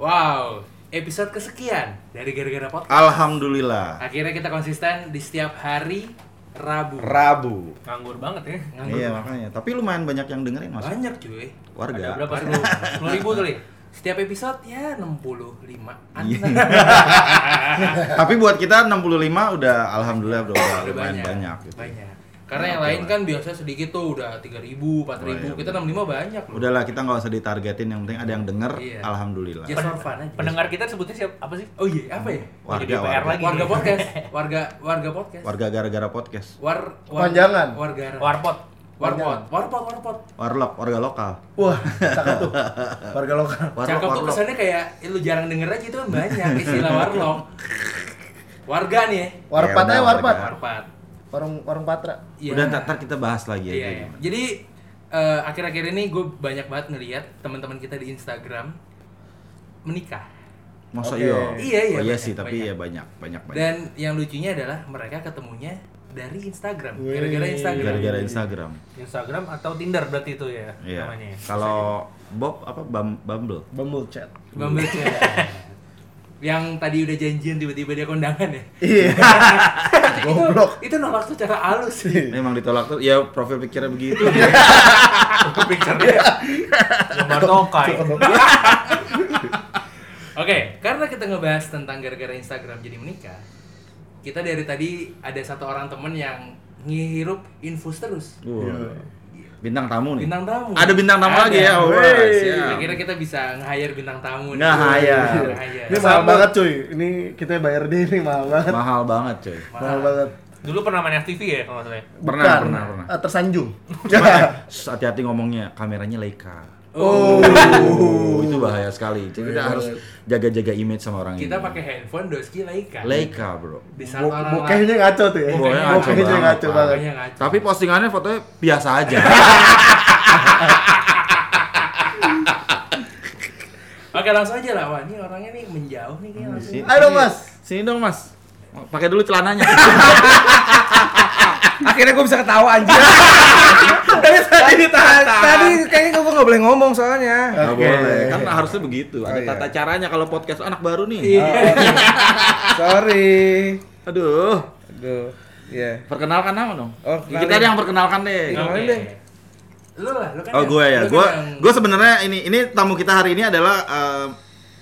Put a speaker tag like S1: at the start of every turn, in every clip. S1: Wow, episode kesekian dari Gara-Gara Podcast.
S2: Alhamdulillah.
S1: Akhirnya kita konsisten di setiap hari Rabu. Eh,
S2: Rabu.
S3: nganggur banget ya
S1: Nganggur.
S2: Iya makanya. Tapi lumayan banyak yang dengerin mas.
S1: Banyak cuy.
S2: Warga.
S1: Ada berapa ribu? 10 ribu kali. Setiap episode ya 65 an.
S2: Iya. Tapi buat kita 65 udah alhamdulillah udah, udah
S1: Udah
S2: lumayan banyak. gitu.
S1: Banyak. Karena yang
S2: Oke
S1: lain
S2: lah.
S1: kan biasa sedikit tuh udah 3000, 4000.
S2: Oh, iya,
S1: Kita 65 banyak loh.
S2: Udahlah kita nggak usah ditargetin yang penting ada yang denger.
S1: Iya.
S2: Alhamdulillah.
S1: Just for fun aja.
S3: pendengar kita sebutnya siapa apa sih
S1: Oh iya, apa ya?
S2: Warga,
S3: Jadi PR
S2: warga.
S3: lagi
S1: Warga podcast, warga warga podcast.
S2: Warga gara-gara podcast.
S1: War,
S4: Kepanjangan.
S1: Warga.
S3: warpot
S1: Warpot. Warpot, warpot.
S2: Warlock, warga lokal.
S4: Wah, cakep tuh.
S2: Eh.
S4: Warga lokal.
S2: Warlock,
S1: Cakep tuh
S2: warlock.
S1: kesannya kayak eh, lu jarang denger aja itu kan banyak istilah warlock. Warga nih ya.
S2: Ya,
S4: Warpat aja,
S2: udah,
S4: warpat.
S2: warga.
S1: Warpat.
S4: Warung warung Patra.
S1: Iya.
S2: Udah ntar, ntar kita bahas lagi
S1: Iya.
S2: aja.
S1: iya. Jadi eh, akhir-akhir ini gue banyak banget ngeliat teman-teman kita di Instagram menikah.
S2: Masa
S4: Oke.
S2: iya?
S1: Iya, iya,
S2: Oh, iya
S1: banyak,
S2: sih, tapi
S1: banyak.
S2: ya banyak, banyak banyak.
S1: Dan yang lucunya adalah mereka ketemunya dari Instagram.
S4: Wih.
S1: Gara-gara Instagram.
S2: Gara-gara Instagram.
S3: Instagram atau Tinder berarti itu ya
S2: Iya.
S3: namanya ya?
S2: Kalau Bob apa Bum- Bumble?
S4: Bumble chat.
S1: Bumble Chat. yang tadi udah janjian tiba-tiba dia kondangan ya.
S4: Iya. Goblok.
S1: Itu nolak secara halus sih.
S2: Memang ditolak tuh, ya profil pikirnya begitu.
S3: picture-nya gambar tokai
S1: Oke, karena kita ngebahas tentang gara-gara Instagram jadi menikah, kita dari tadi ada satu orang temen yang ngirup infus terus.
S2: Wah. Bintang tamu nih.
S1: Bintang tamu.
S2: Ada bintang tamu
S1: Ada.
S2: lagi ya. Wah,
S4: Wey.
S2: siap.
S1: Akhirnya kita bisa nge-hire bintang tamu nih. Nge-hire.
S2: Nge-hire.
S4: Ini mahal
S2: Iya, Sama.
S4: banget cuy. Ini kita bayar deh ini mahal banget.
S2: Mahal banget coy.
S4: Mahal banget.
S3: dulu pernah main FTV ya kalau nggak salah
S2: Pernah,
S4: Bukan.
S2: pernah, pernah.
S4: Eh, tersanjung.
S2: Shh, Hati-hati ngomongnya, kameranya Leica.
S1: Oh.
S2: Oh, itu bahaya sekali. Jadi kita harus jaga-jaga image sama orang
S1: Oh, Kita
S2: ini.
S1: pakai handphone Doski Leica.
S2: Leica, Bro.
S1: Di saat
S4: Bo-
S1: orang lain
S4: Bokehnya ngaco tuh ya.
S2: Bokehnya ngaco
S4: Bokehnya
S2: banget,
S4: ngaco
S2: Pak.
S4: banget.
S1: Bokehnya ngaco.
S2: Tapi postingannya fotonya biasa aja.
S1: Oke, langsung aja lah. Wah, ini orangnya nih menjauh nih kayaknya langsung.
S2: Sini-
S4: Ayo, Mas.
S2: Sini dong, Mas. Pakai dulu celananya.
S5: Akhirnya gue bisa ketawa anjir. Tadi tadi ditahan. Tadi kayaknya gue nggak boleh ngomong soalnya.
S2: Nggak
S4: Oke.
S2: boleh. Kan harusnya begitu. Ada
S5: Oh, iya.
S2: tata caranya kalau podcast "Oh, anak baru nih.
S1: Iya.
S5: Sorry.
S2: Aduh.
S5: Aduh. Iya.
S2: Perkenalkan nama dong.
S5: Oh,
S2: kita
S5: kenalin.
S2: yang perkenalkan deh.
S5: Iya.
S1: Oke.
S5: deh.
S1: Lu lah, lu kan.
S2: Oh gue ya,
S1: lu kan
S2: gue
S1: yang-
S2: gue sebenarnya ini ini tamu kita hari ini adalah eh,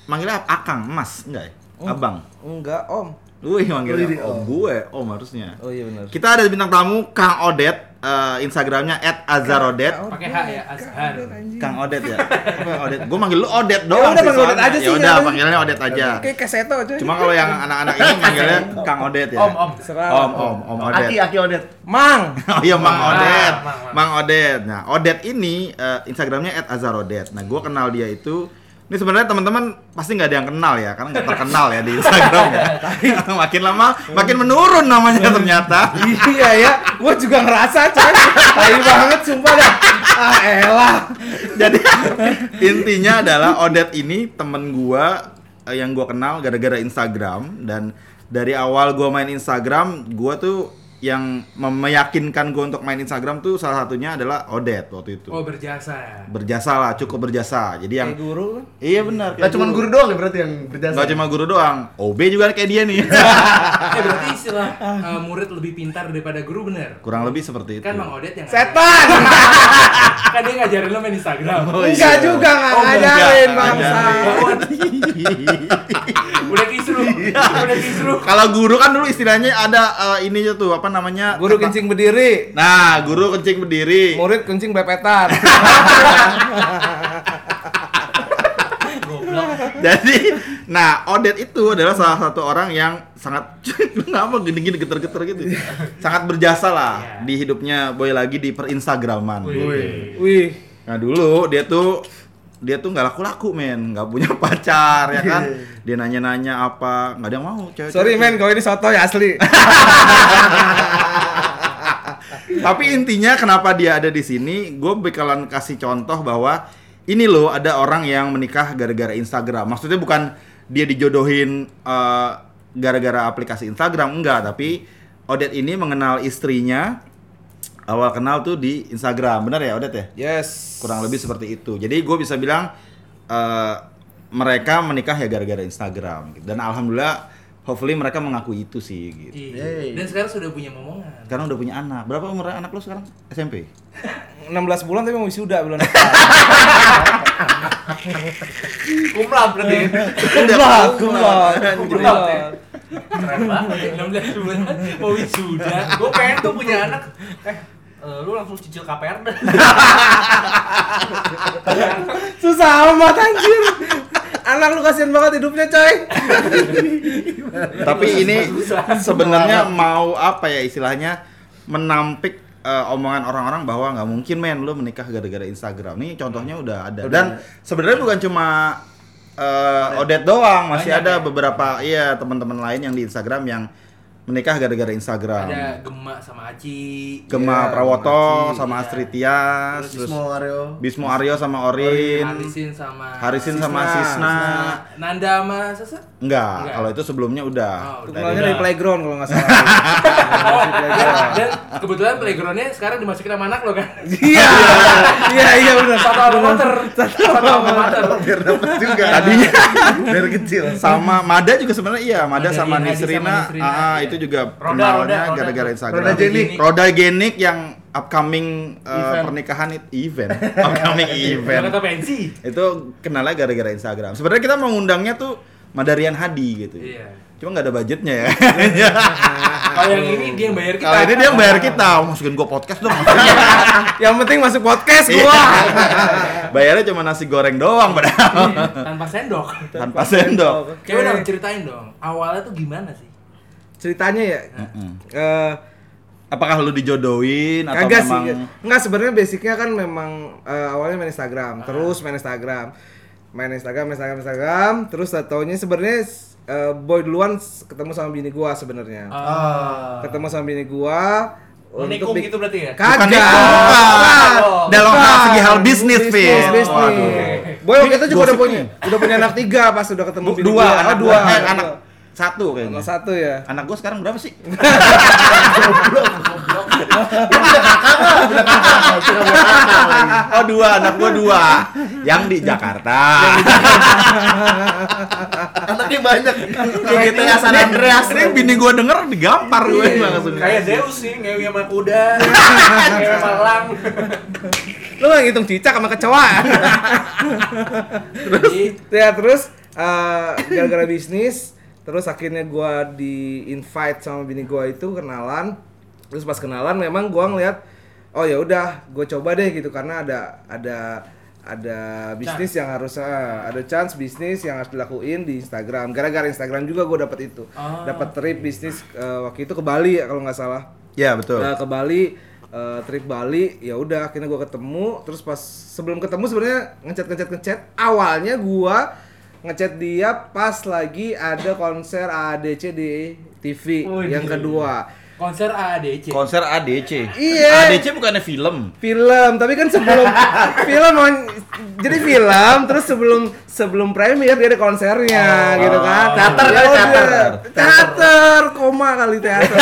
S2: manggilnya apa? Akang, Mas, enggak ya?
S5: Oh.
S2: Abang.
S5: Enggak, Om.
S2: Wih manggilnya
S4: Wih,
S2: om
S4: Om.
S2: gue, om harusnya.
S5: Oh iya benar.
S2: Kita ada bintang tamu Kang Odet, eh, Instagramnya @azarodet.
S1: Pakai H ya, Azhar.
S2: Kang Odet ya, Apa Odet. Gue manggil lu Odet dong.
S5: Ya udah,
S2: sih,
S5: manggil Odet
S2: soalnya.
S5: aja sih,
S2: Ya udah
S5: kan. nggak apa-apa.
S2: panggilnya Odet aja.
S5: Kayak kaseto aja.
S2: Cuma kalau yang anak-anak ini manggilnya Kang Odet ya.
S1: Om, om.
S5: Serah.
S2: om, om, om Odet.
S4: Aki Aki Odet.
S5: Mang.
S2: Oh iya Mang
S3: Mang,
S2: Odet.
S3: Mang, Mang.
S2: Mang Odet. Nah, Odet ini eh, Instagramnya @azarodet. Nah, gua kenal dia itu ini sebenarnya teman-teman pasti nggak ada yang kenal ya, karena nggak terkenal ya di Instagram ya. Tapi makin lama makin menurun namanya ternyata.
S5: iya ya, gue juga ngerasa coy. Tai banget sumpah dah. Ah elah.
S2: Jadi intinya adalah Odet ini temen gua eh, yang gua kenal gara-gara Instagram dan dari awal gua main Instagram, gua tuh yang mem- meyakinkan gua untuk main Instagram tuh salah satunya adalah Odet waktu itu.
S1: Oh, berjasa.
S2: berjasa lah cukup berjasa jadi yang
S5: Kayak guru.
S2: iya benar
S4: Gak cuma guru doang ya berarti yang berjasa.
S2: nggak cuma guru doang OB juga kayak dia nih
S1: Eh, berarti istilah eh, murid lebih pintar daripada guru bener.
S2: kurang lebih seperti itu
S1: Kan Mang Odet yang
S5: Setan.
S1: kan dia ngajarin lo main Instagram.
S2: Oh,
S5: Enggak
S2: iya.
S5: juga enggak
S2: Oh, enggak,
S5: ngajarin bangsa.
S2: ngajarin.
S1: Udah kisru, udah kisru.
S2: kalau guru kan dulu istilahnya ada eh, ininya tuh apa namanya
S5: Guru kencing berdiri.
S2: nah guru kencing berdiri
S5: Murid kencing belepetan.
S2: jadi nah Odet itu adalah salah satu orang yang sangat kenapa gini-gini geter-geter gitu sangat berjasa lah
S1: Iya.
S2: di hidupnya boy lagi di perinstagraman
S1: Wih.
S5: Wih,
S2: Nah dulu dia tuh dia tuh nggak laku-laku men, nggak punya pacar ya kan? Dia nanya-nanya apa, nggak ada yang mau. Cewek
S5: Iya. sorry men, kalau ini soto ya asli.
S2: Tapi intinya kenapa dia ada di sini, gue bakalan kasih contoh bahwa ini loh ada orang yang menikah gara-gara Instagram. Maksudnya bukan dia dijodohin eh, gara-gara aplikasi Instagram, enggak. Tapi Odet ini mengenal istrinya awal kenal tuh di Instagram, bener ya Odet ya?
S5: Yes.
S2: kurang lebih seperti itu jadi gue bisa bilang eh, mereka menikah ya gara-gara Instagram gitu. dan alhamdulillah hopefully mereka mengakui itu sih gitu
S1: Iya. Dan sekarang sudah punya momongan.
S2: sekarang udah punya anak berapa umur anak lo sekarang SMP
S5: 16 bulan tapi mau wisuda bulan
S3: Kumlap berarti.
S2: Iya,
S5: Kumlot, kumlot,
S3: Kumlot, ya.
S5: kumlot.
S3: Keren banget.
S1: Enam belas bulan mau Oh, wisuda.
S3: Gue pengen tuh punya anak. Eh, eh, lu langsung cicil KPR deh.
S5: Susah amat anjir. Anak lu kasihan banget hidupnya, coy.
S2: tapi ini sebenarnya mau apa ya istilahnya menampik eh, omongan orang-orang bahwa nggak mungkin men lo menikah gara-gara Instagram nih contohnya udah ada dan sebenarnya bukan cuma eh, Odet doang masih
S1: Banyak
S2: ada
S1: ya?
S2: beberapa iya teman-teman lain yang di Instagram yang menikah gara-gara Instagram
S1: Ada Gema Ya, sama Aci.
S2: Gema
S4: Iya,
S2: Prawoto
S4: Gema Aci,
S2: sama
S1: iya.
S2: Astrid Tias
S4: Terus
S2: terus
S4: Bismo Wario.
S2: Bismo Aryo sama Orin
S1: Harisin sama
S2: Harisin sama
S4: Sisna.
S2: Sisna
S1: Nah, Nanda sama Sasa.
S2: enggak
S1: Enggak.
S2: kalau itu sebelumnya udah
S1: Oh, udah.
S5: Kumlotnya dari playground kalau nggak salah. Dari
S2: Iya.
S5: playground.
S1: Dan kebetulan playgroundnya sekarang dimasukin sama anak lo kan.
S5: Iya, iya, iya benar.
S1: Satu alma mater. Satu alma mater.
S4: Biar dapat juga.
S2: Tadinya.
S4: dari kecil.
S2: sama Mada juga sebenarnya iya Mada
S1: Mada
S2: sama
S1: Gina,
S2: Nisrina,
S1: sama Nisrina,
S2: ah,
S1: iya.
S2: itu juga
S3: Roda, roda,
S2: kenalnya
S3: roda.
S2: gara-gara Instagram
S4: Roda genik.
S2: Roda genik yang upcoming uh,
S4: Event.
S2: pernikahan it, event upcoming event
S1: Kata pensi.
S2: itu kenalnya gara-gara Instagram sebenarnya kita mengundangnya tuh Madarian Hadi gitu
S1: Iya.
S2: cuma nggak ada budgetnya ya
S1: Kalau yang ini dia yang bayar kita.
S2: kalau ini dia yang bayar kita Oh, masukin gua podcast dong
S5: Yang penting masuk podcast
S2: Iya.
S5: Iya, gua.
S2: bayarnya cuma nasi goreng doang padahal
S1: Iya. tanpa sendok.
S2: tanpa sendok
S5: Oke.
S1: Coba dong ceritain dong. Awalnya tuh gimana sih?
S5: Ceritanya ya.
S2: Mm-mm.
S5: Eh,
S2: apakah lu dijodohin atau
S5: Kagak sih.
S2: memang
S5: Enggak sebenarnya basicnya kan memang eh, awalnya main Instagram, terus main Instagram. Main Instagram, Instagram, Instagram, terus taunya sebenarnya eh, boy duluan s- ketemu sama bini gua sebenarnya.
S4: Ah.
S5: Ketemu sama bini gua
S1: Eh,
S3: Lu nikung
S5: bi-
S3: gitu berarti ya?
S5: Kagak.
S2: Bukan nikung.
S5: Bukan.
S2: Dalam hal segi hal bisnis,
S5: Bisnis,
S2: Fit.
S5: bisnis.
S2: Waduh.
S5: Boy waktu itu juga udah
S2: Gosip
S5: punya, udah punya anak tiga pas udah ketemu
S2: Bu-
S5: bini
S2: dua,
S5: gua.
S2: anak
S5: Oh,
S2: dua,
S5: dua,
S2: Eh,
S5: dua.
S2: anak satu kayaknya.
S5: Anak satu ya.
S2: Anak gue sekarang berapa sih? oh dua, anak gue dua. Yang di Jakarta.
S4: Anaknya banyak.
S2: Di GTA San Andreas nih ya, bini gue denger digampar gue
S5: Iya.
S2: langsung.
S3: Kayak Zeus sih, ngewi sama kuda, ngewi sama elang.
S5: Lu nggak ngitung cicak sama kecoa.
S1: Jadi
S5: ya terus eh, gara-gara bisnis terus akhirnya gua di invite sama bini gua itu kenalan terus pas kenalan memang gua ngeliat oh ya udah gue coba deh gitu karena ada ada ada bisnis yang harus eh, ada chance bisnis yang harus dilakuin di Instagram gara-gara Instagram juga gua dapat itu
S1: Ah.
S5: dapat trip bisnis eh, waktu itu ke Bali ya, kalau nggak salah
S2: Ya betul.
S5: Nah, ke Bali eh, trip Bali ya udah akhirnya gua ketemu terus pas sebelum ketemu sebenarnya ngechat ngechat ngechat awalnya gua ngechat dia pas lagi ada konser ADC di TV
S1: Wih.
S5: yang kedua
S1: konser AADC.
S2: Konser ADC.
S5: Iya.
S2: ADC bukannya film.
S5: film tapi kan sebelum film on- jadi film terus sebelum sebelum premier dia ada konsernya gitu kan
S2: Oh. Teater kali,
S5: Ya udah.
S2: teater.
S5: teater koma kali teater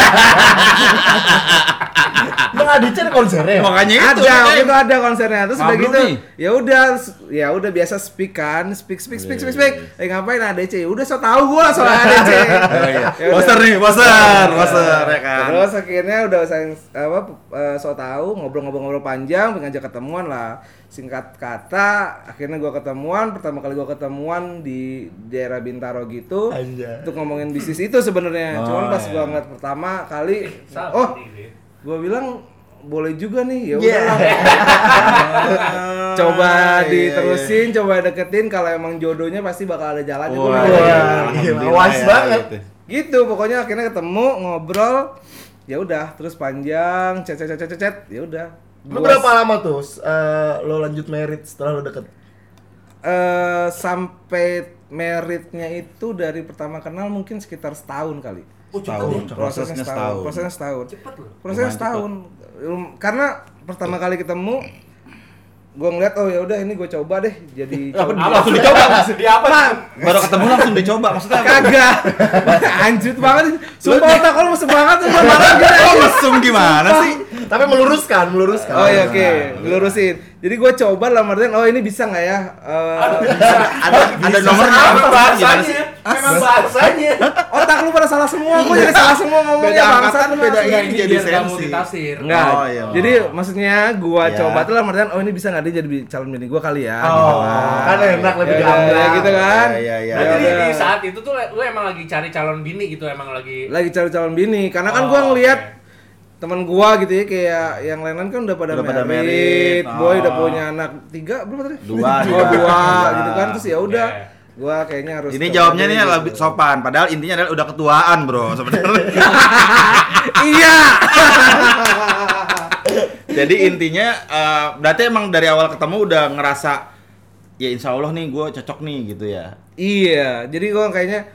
S4: Bang Adice ada konsernya.
S2: Makanya itu.
S5: Iya.
S2: kan? Ya
S5: ada waktu
S2: gitu, makanya.
S5: itu ada konsernya terus udah
S2: Mabruk
S5: gitu
S2: nih.
S5: ya udah ya udah biasa speak kan speak speak speak speak speak eh ngapain ADC udah so tau gue lah soal ADC
S2: Iya, Oh, iya.
S5: Ya udah. Iya.
S2: Poster nih, poster, poster ya kan.
S5: terus akhirnya udah sayang apa eh, so tau ngobrol-ngobrol-ngobrol panjang pengen ngajak ketemuan lah singkat kata akhirnya gua ketemuan pertama kali gua ketemuan di daerah Bintaro gitu
S4: Anjay.
S5: untuk ngomongin bisnis itu sebenarnya
S2: Oh,
S5: cuman pas
S2: iya.
S5: gua ngeliat pertama kali
S3: Sama
S5: oh
S3: sih.
S5: gue bilang boleh juga nih ya
S4: Iya."
S5: udah lah. Ah, coba
S2: Iya,
S5: diterusin coba deketin kalau emang jodohnya pasti bakal ada jalannya Gua
S2: Wah,
S5: bilang,
S4: iya.
S2: alhamdulillah
S4: Wah, was
S2: ya,
S4: banget.
S2: gitu.
S5: gitu pokoknya akhirnya ketemu ngobrol ya udah terus panjang chat chat chat chat, chat ya udah
S4: Lu
S5: Gua-
S4: berapa lama tuh eh, lo lanjut merit setelah lo deket?
S5: eh, sampai meritnya itu dari pertama kenal mungkin sekitar setahun kali
S1: Oh, cepet
S2: Setahun.
S1: ya.
S2: Prosesnya setahun.
S5: Iya, prosesnya setahun
S1: Cepet loh.
S5: Prosesnya
S2: Lumayan
S5: setahun. Um, Karena pertama kali ketemu gue ngeliat oh ya udah ini gue coba deh jadi
S2: Apa
S5: coba.
S2: langsung dicoba?
S3: Di apa?
S2: Baru ketemu langsung dicoba maksudnya apa?
S5: kagak anjut banget sumpah otak lu mesum banget tuh gua marah.
S2: Kok mesum gimana sih? iya,
S4: Tapi meluruskan, meluruskan.
S5: oh ya oke Oh, iya, lurusin Jadi gue coba lah Martin, oh ini bisa nggak ya? Eh,
S2: ada ada nomornya
S1: Memang
S2: apa? Gimana sih?
S1: bahasanya, memang bahasanya.
S5: otak lu pada salah semua, gue jadi salah semua ngomongnya
S2: Beda
S5: bangsa
S2: angkatan, beda
S1: Enggak, ini
S2: Jadi
S1: biar kamu
S2: sensi.
S1: ditafsir.
S5: Enggak.
S2: Oh, iya.
S5: Jadi maksudnya gua
S2: Iya.
S5: coba tuh lah Martin, oh ini bisa nggak dia jadi calon bini gua kali ya? gitu
S4: Oh,
S5: kan.
S4: kan enak lebih
S5: Ya,
S4: gampang.
S5: ya, gitu kan.
S2: Iya, iya,
S5: Ya
S3: Nah, jadi
S5: udah.
S3: di saat itu tuh lu emang lagi cari calon bini gitu emang lagi
S5: Lagi cari calon bini, karena kan
S3: Oh,
S5: gua ngeliat
S3: oke.
S5: teman gua gitu ya kayak yang lain-lain kan udah pada
S2: Udah pada
S5: married,
S2: married,
S5: boy udah
S2: oh.
S5: punya anak tiga belum tadi?
S2: Dua,
S5: oh,
S2: dua.
S5: dua
S2: Dua.
S5: gitu kan terus ya udah
S3: Oke.
S5: gua kayaknya harus
S2: Ini
S5: coba
S2: jawabnya
S5: deh
S2: nih
S5: gitu.
S2: lebih sopan, padahal intinya adalah udah ketuaan bro sebenarnya.
S5: iya
S2: Jadi intinya, eh, berarti emang dari awal ketemu udah ngerasa ya insya Allah nih gue cocok nih gitu ya.
S5: iya jadi gua kayaknya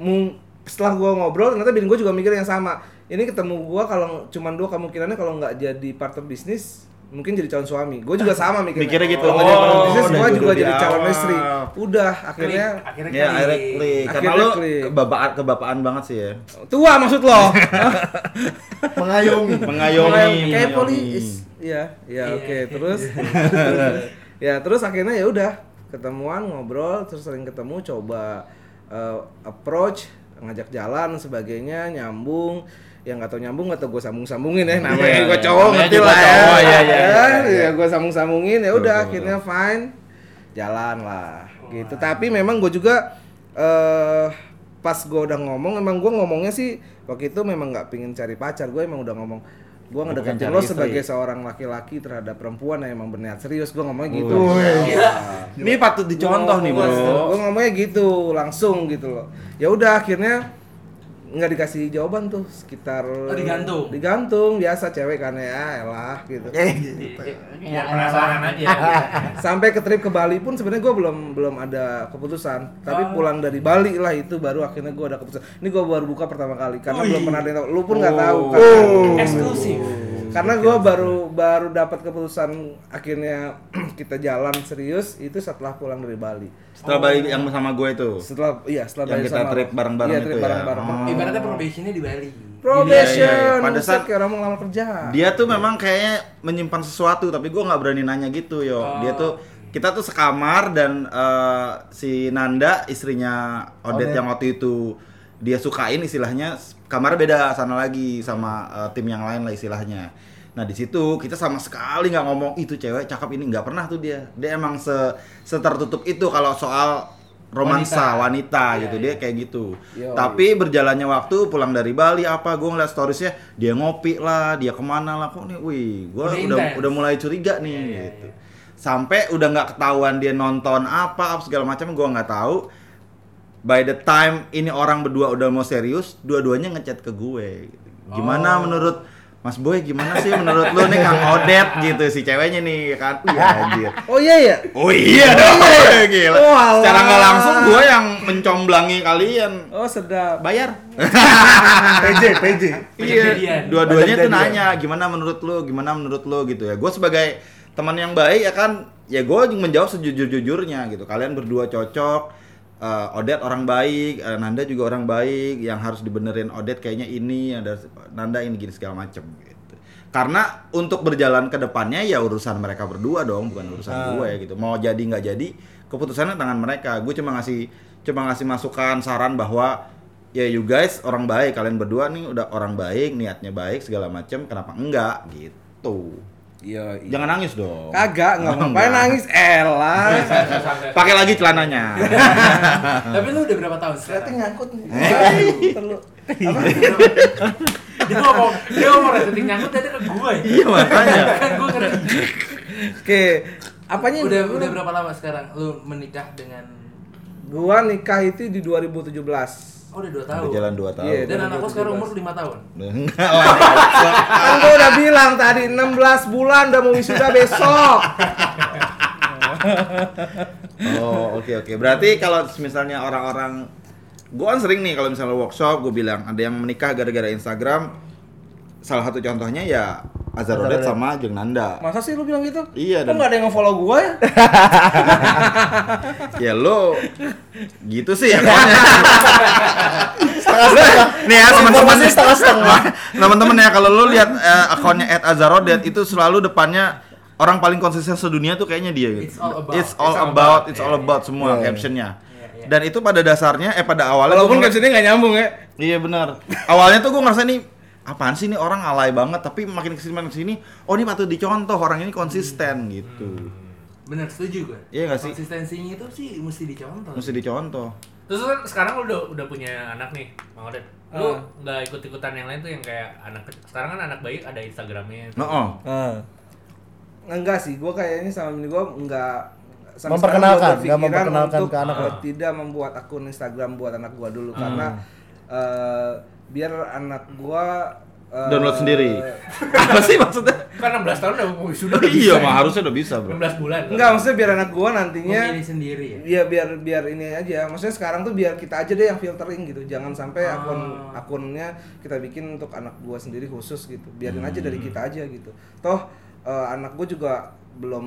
S5: mung- setelah gua ngobrol ternyata bini gua juga mikir yang sama ini ketemu gua kalau cuman dua kemungkinannya kalau nggak jadi partner bisnis mungkin jadi calon suami gua juga sama mikirnya
S2: Mikirnya gitu.
S5: kalau nggak jadi partner
S2: Oh,
S5: bisnis
S2: udah
S5: gua
S2: jodoh
S5: juga
S2: di
S5: jadi calon
S2: awal.
S5: istri udah akhirnya
S3: Klik, akhirnya
S2: Ya,
S3: klik.
S2: akhirnya klik. Karena
S5: Akhirnya
S2: lo
S5: klik.
S2: kebapaan, kebapaan banget sih ya.
S5: tua maksud lo
S4: mengayomi.
S2: Mengayomi. mengayomi.
S5: kayak polis ya
S3: Iya.
S5: ya oke terus ya terus akhirnya ya udah ketemuan ngobrol terus sering ketemu coba eh, approach ngajak jalan sebagainya nyambung yang nggak tau nyambung nggak tau gue sambung sambungin ya namanya
S2: Iya,
S5: gue
S2: iya.
S5: cowok
S2: Namanya
S5: ngerti
S2: juga
S5: lah ya
S2: cowok, iya, iya,
S5: Ya,
S2: iya, iya.
S5: ya gue sambung sambungin ya
S2: Betul,
S5: udah
S2: betul,
S5: akhirnya fine jalan lah gitu tapi memang gue juga eh pas gue udah ngomong emang gue ngomongnya sih waktu itu memang nggak pingin cari pacar gue emang udah ngomong gue
S2: Bukan
S5: ngedeketin
S2: cari
S5: lo
S2: istri.
S5: sebagai seorang laki-laki terhadap perempuan yang emang berniat serius gue ngomongnya gitu
S1: Iya.
S2: Ini patut dicontoh nih bro.
S5: gue ngomongnya gitu langsung gitu loh ya udah akhirnya nggak dikasih jawaban tuh sekitar
S1: Oh, digantung.
S5: digantung biasa cewek kan ya elah gitu
S2: Eh.
S1: Ya,
S3: biar Ya, penasaran aja. gitu.
S5: sampai ke trip ke Bali pun sebenarnya gue belum belum ada keputusan tapi pulang dari Bali lah itu baru akhirnya gue ada keputusan ini gue baru buka pertama kali karena belum pernah ada yang tahu lu pun nggak tahu kan.
S1: Eksklusif.
S5: karena gue baru baru dapat keputusan akhirnya kita jalan serius itu setelah pulang dari Bali
S2: Setelah balik yang sama gue itu.
S5: setelah iya
S2: Yang
S5: setelah Bali
S2: kita
S5: sama
S2: trip
S5: lo.
S2: bareng-bareng
S5: iya,
S2: itu
S5: trip
S2: ya.
S5: bareng-bareng
S2: Oh.
S1: Ibaratnya probationnya di Bali.
S5: probation
S2: Iya, iya, iya.
S5: Buset,
S2: Pantesan-
S5: kayak orang mau ngelamar kerja
S2: Dia tuh memang kayaknya menyimpan sesuatu tapi gue nggak berani nanya gitu
S5: Oh.
S2: yo. Dia tuh kita tuh sekamar dan eh, si Nanda istrinya Odet yang waktu itu dia sukain istilahnya kamar beda sana lagi sama eh, tim yang lain lah istilahnya. Nah di situ kita sama sekali nggak ngomong itu cewek cakep ini nggak pernah tuh dia. Dia emang se setertutup itu kalau soal romansa wanita, gitu dia kayak gitu.
S5: Yo.
S2: Tapi tapi berjalannya waktu pulang dari Bali apa gue ngeliat storiesnya dia ngopi lah dia kemana lah kok nih wih gue
S1: Udah
S2: udah
S1: intens.
S2: udah mulai curiga nih gitu sampai udah nggak ketahuan dia nonton apa apa segala macam gue nggak tahu by the time ini orang berdua udah mau serius dua-duanya ngechat ke gue gitu. gimana menurut Mas Boy gimana sih menurut lu nih Kang Odet gitu si ceweknya nih ya kan iya anjir
S5: oh iya ya
S2: Oh iya dong, gila.
S5: Oh, alah.
S2: Secara nggak langsung gue yang mencomblangi kalian
S5: oh sedap
S2: bayar.
S4: PJ, PJ.
S1: Kejadian.
S2: Iya. Dua-duanya tuh
S4: Kejadian.
S2: nanya gimana menurut lo, gimana menurut lo gitu ya. Gue sebagai teman yang baik ya kan, ya gue menjawab sejujur-jujurnya gitu. Kalian berdua cocok. eh, Odet orang baik, eh, Nanda juga orang baik. Yang harus dibenerin Odet kayaknya ini, ada Nanda ini gini segala macem gitu. Karena untuk berjalan ke depannya ya urusan mereka berdua dong, bukan urusan
S5: Ah.
S2: gue gitu. Mau jadi nggak jadi, keputusannya tangan mereka. Gue cuma ngasih cuma ngasih masukan, saran bahwa ya you guys orang baik kalian berdua nih udah orang baik niatnya baik segala macam kenapa enggak gitu
S5: iya iya.
S2: jangan nangis dong
S5: kagak nggak
S2: Oh, Enggak.
S5: ngapain nangis Eh, elah
S2: pakai lagi celananya
S1: Tapi lu udah berapa tahun
S4: Ternyata
S1: sekarang?
S4: nyangkut nih.
S2: Eh.
S5: Terlalu-
S1: Dia ngomong, dia ngomong rating nyangkut tadi ke gue.
S3: ya."
S2: iya makanya
S1: Kan gue ngerti.
S5: Oke, apanya
S1: Udah udah berapa lama sekarang lu menikah dengan
S5: Gua nikah itu di 2017.
S1: Oh, udah 2 tahun.
S2: udah jalan 2 tahun
S5: Iya.
S1: Dan anak lu sekarang umur 5 tahun.
S2: enggak lah
S5: Kan gua udah bilang tadi 16 bulan udah mau wisuda besok.
S2: oh oke oke berarti kalau misalnya orang-orang gue kan sering nih kalau misalnya workshop gue bilang ada yang menikah gara-gara Instagram salah satu contohnya ya Azhar Odet sama Jeng Nanda
S5: Masa sih lu bilang gitu?
S2: Iya,
S5: Kok
S2: dan-
S5: nggak ada yang nge-follow gua ya?
S2: ya lo gitu sih ya pokoknya setengah nih ya teman-teman
S4: Informasi setengah-setengah.
S2: teman-teman ya kalau lo lihat eh, akunnya Ed Azarodet itu selalu depannya orang paling konsisten sedunia tuh kayaknya dia gitu.
S1: It's all about.
S2: It's all
S1: It's all
S2: about,
S1: about.
S2: it's
S1: Iya,
S2: all
S1: iya.
S2: about semua
S4: Iya, iya.
S2: captionnya.
S1: Iya, iya.
S2: Dan itu pada dasarnya eh pada awalnya
S5: Walaupun
S2: gua-
S5: captionnya nggak nyambung ya.
S2: Iya benar. Awalnya tuh gue ngerasa nih apaan sih ini orang alay banget tapi makin kesini makin kesini oh ini patut dicontoh orang ini konsisten gitu
S1: Bener setuju gue.
S2: Iya nggak sih?
S1: Konsistensinya itu sih mesti dicontoh.
S2: mesti dicontoh
S6: Terus kan sekarang lu udah udah punya anak nih, Bang Odin.
S5: Ah.
S6: Lu nggak ikut-ikutan yang lain tuh yang kayak anak kecil. Sekarang kan anak bayi ada Instagramnya.
S2: no oh.
S4: Ah.
S5: Enggak sih, gue kayaknya sama ini gue enggak sampai
S4: Memperkenalkan,
S5: sekarang gua
S4: enggak
S5: berpikiran
S4: memperkenalkan
S5: untuk,
S4: ke anak
S5: eh,
S6: lo.
S5: tidak membuat akun Instagram buat anak gue dulu karena
S4: Hmm.
S5: eh, biar anak eh, gue
S2: download sendiri apa sih maksudnya
S6: Kan 16 tahun udah mau sudah
S2: iya mah harusnya udah bisa bro
S6: 16 bulan.
S5: Enggak, maksudnya biar anak gue nantinya
S1: Memilih sendiri ya.
S5: Iya biar biar ini aja. Maksudnya sekarang tuh biar kita aja deh yang filtering gitu. Jangan sampai
S2: Ah.
S5: akun akunnya kita bikin untuk anak gua sendiri khusus gitu. Biarin aja
S2: Hmm.
S5: dari kita aja gitu. Toh eh, anak gua juga belum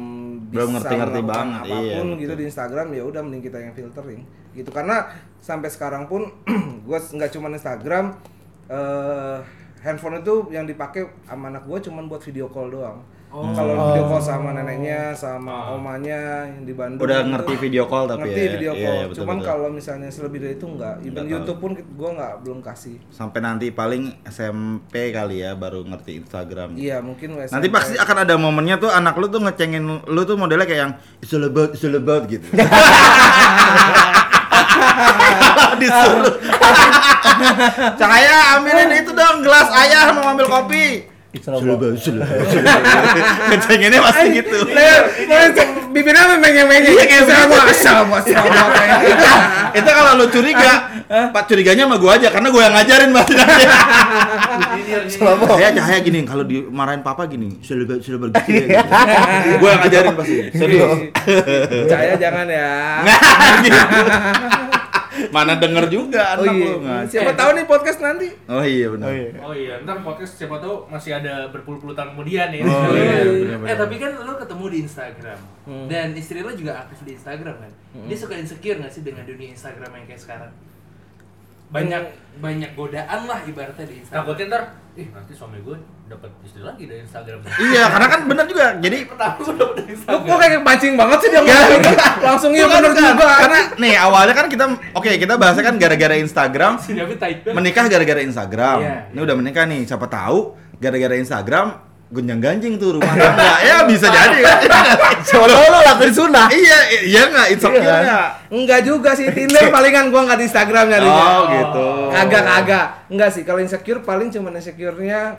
S5: bisa
S2: Belum ngerti-ngerti
S5: melakukan
S2: banget, iya,
S5: apapun gitu
S2: betul.
S5: di Instagram ya udah mending kita yang filtering gitu karena sampai sekarang pun gua nggak cuman Instagram eh handphone itu yang dipakai sama anak gua cuman buat video call doang
S2: Oh.
S5: kalau video call sama
S2: Ah.
S5: neneknya sama omanya yang di Bandung
S2: udah
S5: itu-
S2: ngerti video call tapi
S5: ngerti
S2: ya
S5: video
S2: Iya,
S5: call.
S2: iya, betul,
S5: Cuman
S2: betul.
S5: kalau misalnya selebih dari itu enggak. Even
S2: Enggak
S5: YouTube pun gue nggak belum kasih.
S2: sampai nanti paling SMP kali ya baru ngerti Instagram gitu.
S5: Iya mungkin WSM.
S2: Nanti pasti akan ada momennya tuh anak lu tuh ngecengin lu tuh modelnya kayak yang it's all about, it's all about gitu. Disuruh. Cahaya ambilin itu dong gelas ayah mau ambil kopi. It's all about, it's all about, it's all about. Ngecenginnya pasti gitu.
S5: bibirnya menyeng-menyeng. Iya kayak sama sama gitu sama.
S2: itu kalau lu curiga, Pak curiganya sama gua aja karena gua yang ngajarin pasti nanti.
S1: Iya,
S4: Selama
S2: Saya cahaya gini kalau dimarahin papa gini, it's all about, it's all about gitu. ya, gitu. Gua yang ngajarin pasti. Serius.
S5: Cahaya jangan ya.
S2: Mana denger juga
S5: Oh
S2: anak
S5: iya.
S2: lu ngaco.
S5: Siapa tahu nih podcast nanti.
S2: Oh iya benar.
S4: Oh iya.
S6: Oh iya, ntar podcast siapa tahu masih ada berpuluh-puluh tahun kemudian ya.
S2: Oh, iya, Hmm.
S1: Eh tapi kan lo ketemu di Instagram dan istri lo juga aktif di Instagram kan. Dia suka insecure nggak sih dengan dunia Instagram yang kayak sekarang?
S2: Hmm.
S1: Banyak banyak godaan lah ibaratnya di Instagram.
S6: Takutnya ntar, ih nanti suami gue dapat istri lagi dari Instagram.
S2: Iya, karena kan benar juga. Jadi
S6: Pertama gue dapet dari
S5: Lu
S6: Instagram.
S5: kok kayak pancing banget sih dia ngomong. Langsung iya
S2: Bukan,
S5: bener
S2: bukan.
S5: juga.
S2: kan? Karena nih awalnya kan kita oke, kita bahasnya kan gara-gara Instagram,
S1: Si David tai banget.
S2: menikah gara-gara Instagram.
S1: Iya.
S2: Ini udah menikah nih, siapa tahu gara-gara Instagram gonjang-ganjing tuh rumah tangga. ya bisa jadi kan.
S4: Coba lu lakuin sunnah.
S2: iya, i- iya enggak insecure-nya.
S5: Enggak juga sih Tinder palingan gua nggak di Instagram nyarinya.
S2: Oh, gitu.
S5: ya. Agak agak. Enggak sih kalau insecure paling cuma insecure-nya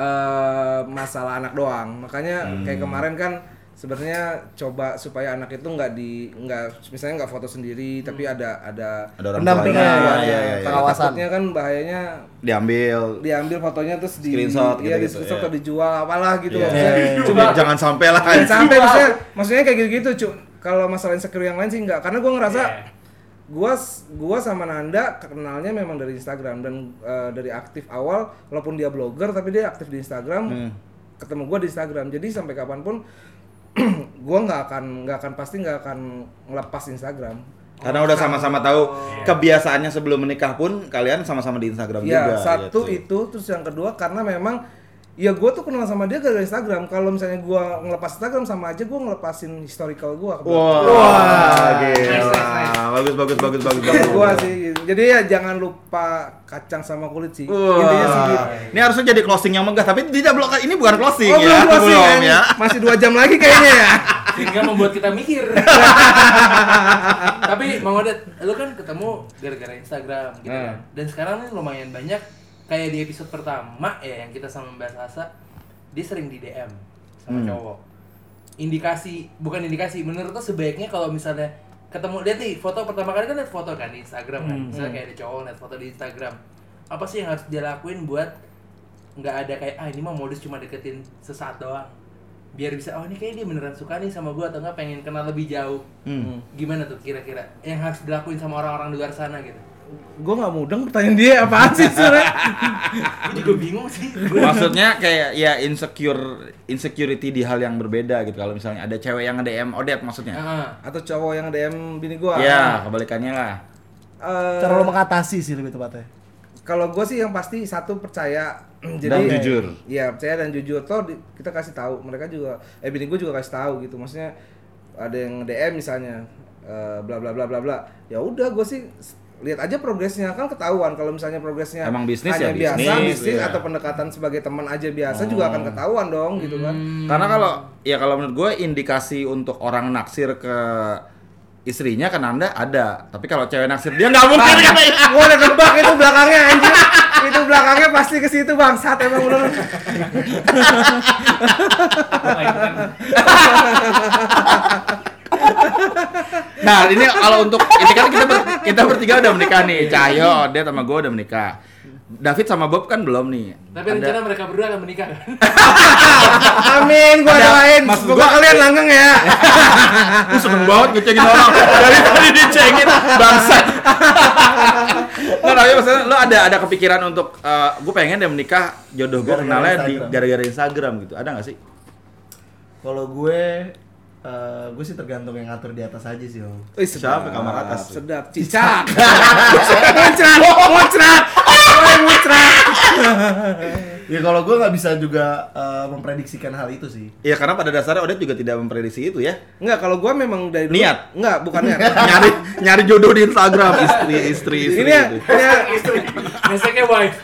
S5: eh masalah anak doang. Makanya
S2: Hmm.
S5: kayak kemarin kan sebenarnya coba supaya anak itu nggak di nggak misalnya nggak foto sendiri tapi ada ada
S2: Ada orang
S4: Pendam,
S2: tuanya.
S4: pendam.
S2: Iya, iya, iya.
S5: Karena
S4: Pengawasan.
S5: takutnya kan bahayanya
S2: Diambil.
S5: diambil fotonya terus di
S2: Screenshot
S5: iya, di
S2: gitu-gitu,
S5: screenshot
S2: iya.
S5: atau dijual apalah gitu
S2: Iya.
S5: loh. Maksudnya,
S2: Cuma jangan sampai lah.
S5: Jangan sampai maksudnya maksudnya kayak gitu-gitu cu kalau masalah insecure yang lain sih enggak karena gue ngerasa
S6: Iya.
S5: gua s- gua sama Nanda kenalnya memang dari Instagram dan eh, dari aktif awal walaupun dia blogger tapi dia aktif di Instagram
S2: Hmm.
S5: ketemu gua di Instagram jadi sampai kapanpun gua nggak akan nggak akan pasti nggak akan ngelepas Instagram
S2: Karena udah sama-sama tahu
S5: Iya.
S2: kebiasaannya sebelum menikah pun kalian sama-sama di Instagram juga.
S5: ya
S2: gitu.
S5: satu itu terus yang kedua karena memang ya gua tuh kenal sama dia gara-gara Instagram kalau misalnya gua ngelepas Instagram sama aja gua ngelepasin historical gua ke belakang.
S2: Wah, gila. Bagus bagus bagus bagus bagus.
S5: gua sih gitu. jadi ya jangan lupa kacang sama kulit sih gitu.
S2: Wah.
S5: intinya segitu
S2: Ini harusnya jadi closing yang megah, tapi tidak blok. Ini bukan closing
S5: oh
S2: ya.
S5: belum closing
S2: Belum
S5: kan?
S2: ya.
S5: masih dua jam lagi kayaknya ya
S1: sehingga membuat kita mikir. Tapi Mang Odet, lu kan ketemu gara-gara Instagram gitu kan. Dan sekarang nih lumayan banyak kayak di episode pertama ya yang kita sama Mbak Sasa, dia sering di DM sama cowok. Indikasi, bukan indikasi, menurut tuh sebaiknya kalau misalnya ketemu lihat nih foto pertama kali kan lihat foto kan di Instagram kan. Misalnya kayak ada cowok lihat foto di Instagram. Apa sih yang harus dia lakuin buat nggak ada kayak ah ini mah modus cuma deketin sesaat doang biar bisa oh ini kayaknya dia beneran suka nih sama gua atau nggak pengen kenal lebih jauh gimana tuh kira-kira yang harus dilakuin sama orang-orang di luar sana gitu
S5: gua nggak mudeng pertanyaan dia apaan sih sebenernya
S1: gue juga bingung sih gua
S2: Maksudnya kayak ya insecure insecurity di hal yang berbeda gitu. Kalau misalnya ada cewek yang DM Odet maksudnya.
S1: Heeh.
S5: atau cowok yang DM bini gua
S2: Ya, kebalikannya lah.
S5: Eh,
S4: Cara lu mengatasi sih lebih tepatnya.
S5: kalau gua sih yang pasti satu percaya
S2: Dan jujur.
S5: Iya, percaya dan jujur. Toh di- kita kasih tahu, mereka juga eh bini gue juga kasih tahu gitu. Maksudnya ada yang DM misalnya eh, bla bla bla bla bla. Ya udah gue sih s- lihat aja progresnya kan ketahuan kalau misalnya progresnya
S2: Emang bisnis
S5: hanya
S2: ya
S5: biasa
S2: bisnis,
S5: bisnis
S2: iya. Oh.
S5: atau pendekatan sebagai teman aja biasa juga akan ketahuan dong gitu kan.
S2: Karena kalau ya kalau menurut gue indikasi untuk orang naksir ke istrinya kan anda ada, tapi kalau cewek naksir dia nggak mungkin kan?
S5: Gua udah nebak itu belakangnya anjir. itu belakangnya pasti ke situ bangsat emang bener.
S6: Nah, itu kan
S2: Nah ini kalau untuk ini kan kita ber- kita bertiga udah menikah nih, Cahyo, Odet sama gue udah menikah. David sama Bob kan belum nih.
S1: Tapi
S2: Ada-
S1: rencana mereka berdua akan menikah kan?
S5: Amin, gua
S2: Ada-
S5: doain.
S2: maksud
S5: Semoga
S2: gua-
S5: kalian langgeng ya.
S2: Lu seneng banget ngecengin orang dari tadi dicengin bangsat. Nggak, tapi maksudnya lu ada ada kepikiran untuk eh, gue pengen deh menikah jodoh gue
S4: Gara-gara
S2: kenalnya di
S4: Instagram.
S2: gara-gara Instagram gitu. Ada nggak sih?
S4: Kalau gue eh, gue sih tergantung yang ngatur di atas aja sih, Om.
S5: Wih,
S2: Siapa kamar atas?
S5: Sedap. Cicak. muncrat, muncrat. Woi, muncrat.
S4: Ya kalau gue nggak bisa juga eh, memprediksikan hal itu sih.
S2: Iya karena pada dasarnya Odet juga tidak memprediksi itu ya.
S5: Enggak, kalau gua memang dari dulu-
S2: Niat? Iya,
S5: Enggak, bukan niat.
S2: nyari nyari jodoh di Instagram istri istri istri.
S5: ini ya,
S2: gitu.
S5: ini ya,
S1: Hashtagnya wife.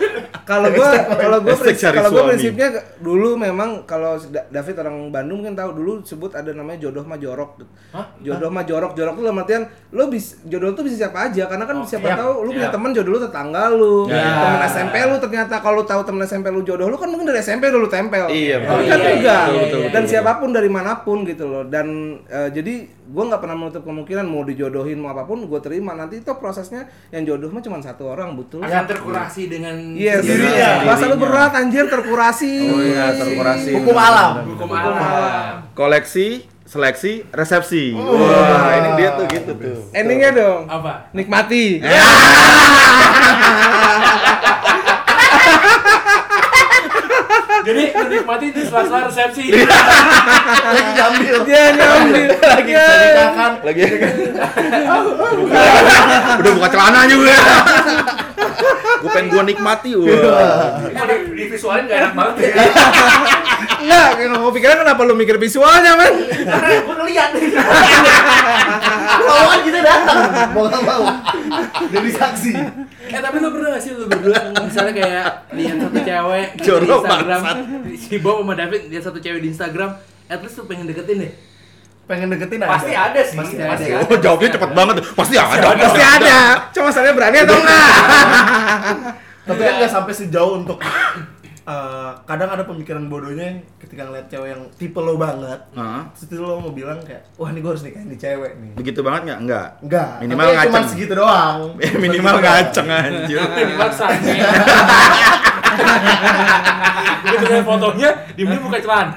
S5: kalau gua kalau gua
S2: Hashtag
S5: prinsip-
S2: cari
S5: kalau gua
S2: suami.
S5: prinsipnya dulu memang kalau Da- David orang Bandung mungkin tahu dulu sebut ada namanya jodoh mah jorok. Jodoh mah jorok, jorok itu dalam artian lo bis, jodoh tuh bisa siapa aja karena kan siapa
S4: iya.
S5: tahu lu punya
S6: Iya.
S5: teman jodoh lu tetangga lu,
S1: Ya,
S2: Iya.
S5: teman SMP lu ternyata kalau lu tahu teman SMP lu jodoh lu kan mungkin dari SMP dulu tempel.
S2: Iya,
S5: Tapi
S1: betul.
S5: kan
S1: Iya,
S5: enggak.
S1: iya, betul, betul,
S5: Dan
S2: betul.
S5: siapapun dari manapun gitu loh. Dan eh, jadi gua nggak pernah menutup kemungkinan mau dijodohin mau apapun gue terima nanti itu prosesnya yang jodoh mah cuma satu orang betul.
S1: Akan terkurasi dengan
S5: Iya,
S4: Sendirinya.
S5: sendirinya. Masa lu berat anjir terkurasi.
S2: Oh iya terkurasi.
S4: Hukum alam.
S1: hukum alam.
S2: Koleksi, seleksi, resepsi. Wah ini dia tuh gitu tuh.
S5: Endingnya dong.
S1: Apa?
S5: Nikmati.
S1: Jadi menikmati di sela-sela resepsi.
S2: Iya.
S4: Lagi diambil.
S5: Dia nyambil. Lagi
S4: Sedekahkan.
S2: Lagi. Udah buka celana juga. gue pengen gue nikmati.
S5: Iya.
S2: Wah.
S6: kalau di, di visualin gak enak banget ya.
S2: Iya.
S5: Enggak, kalau mau pikiran kenapa lu mikir visualnya, men?
S4: Karena gue ngeliat. Kalau kan kita datang, mau nggak mau. Jadi saksi.
S1: Eh tapi lu pernah gak sih lu berdua misalnya kayak lihat satu cewek di
S2: Jorok
S1: Instagram,
S2: bangsat.
S1: si Bob sama David lihat satu cewek di Instagram, at least lu pengen deketin deh.
S4: Pengen deketin ada.
S6: Pasti ada sih.
S4: Pasti ada.
S6: Pasti
S2: Oh jawabnya cepet banget. Pasti ada.
S5: Pasti ada. Cuma saya berani atau enggak?
S4: Tapi
S2: Iya.
S4: kan nggak sampai sejauh untuk eh, kadang ada pemikiran bodohnya yang ketika ngeliat cewek yang tipe lo banget.
S2: Heeh.
S4: Terus itu lo mau bilang kayak, wah ini gue harus nikahin nih cewek nih.
S2: Begitu banget nggak? Enggak.
S4: Enggak.
S2: Minimal
S4: tapi ya Cuman
S2: ngaceng.
S4: segitu doang.
S2: Minimal
S4: Segitu doang.
S2: ngaceng anjir.
S1: Minimal sange. Begitu lihat fotonya, dia buka
S2: Iya.
S1: celana.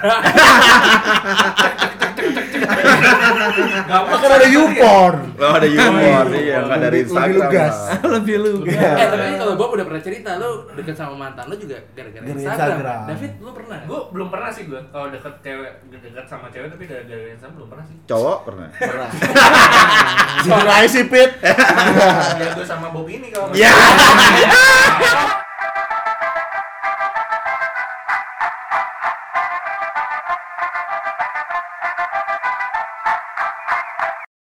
S4: Kan ada YouPorn.
S2: Lo ada humor, iya nggak dari
S4: Lebih-
S2: Instagram.
S4: Lebih lugas.
S2: lah.
S5: Lebih lu.
S1: Eh tapi kalau Bob udah pernah cerita lu deket sama mantan lu juga gara-gara
S4: Gara-gara
S1: Instagram.
S4: Instagram.
S1: David lu pernah?
S6: Gue belum pernah sih gue kalau deket cewek deket sama cewek tapi dari dari Instagram belum pernah sih.
S2: Cowok pernah.
S4: Jujur aja sih, Pit.
S6: Ya gue sama Bob ini kalau
S2: Iya.
S6: nggak salah.